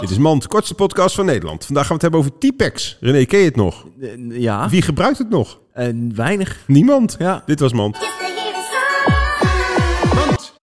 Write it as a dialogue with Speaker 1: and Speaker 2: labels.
Speaker 1: Dit is Mand, kortste podcast van Nederland. Vandaag gaan we het hebben over T-Pex. René, ken je het nog?
Speaker 2: Eh, Ja,
Speaker 1: Wie gebruikt het nog?
Speaker 2: en weinig.
Speaker 1: Niemand.
Speaker 2: Ja.
Speaker 1: Dit was Mand.
Speaker 3: Yes,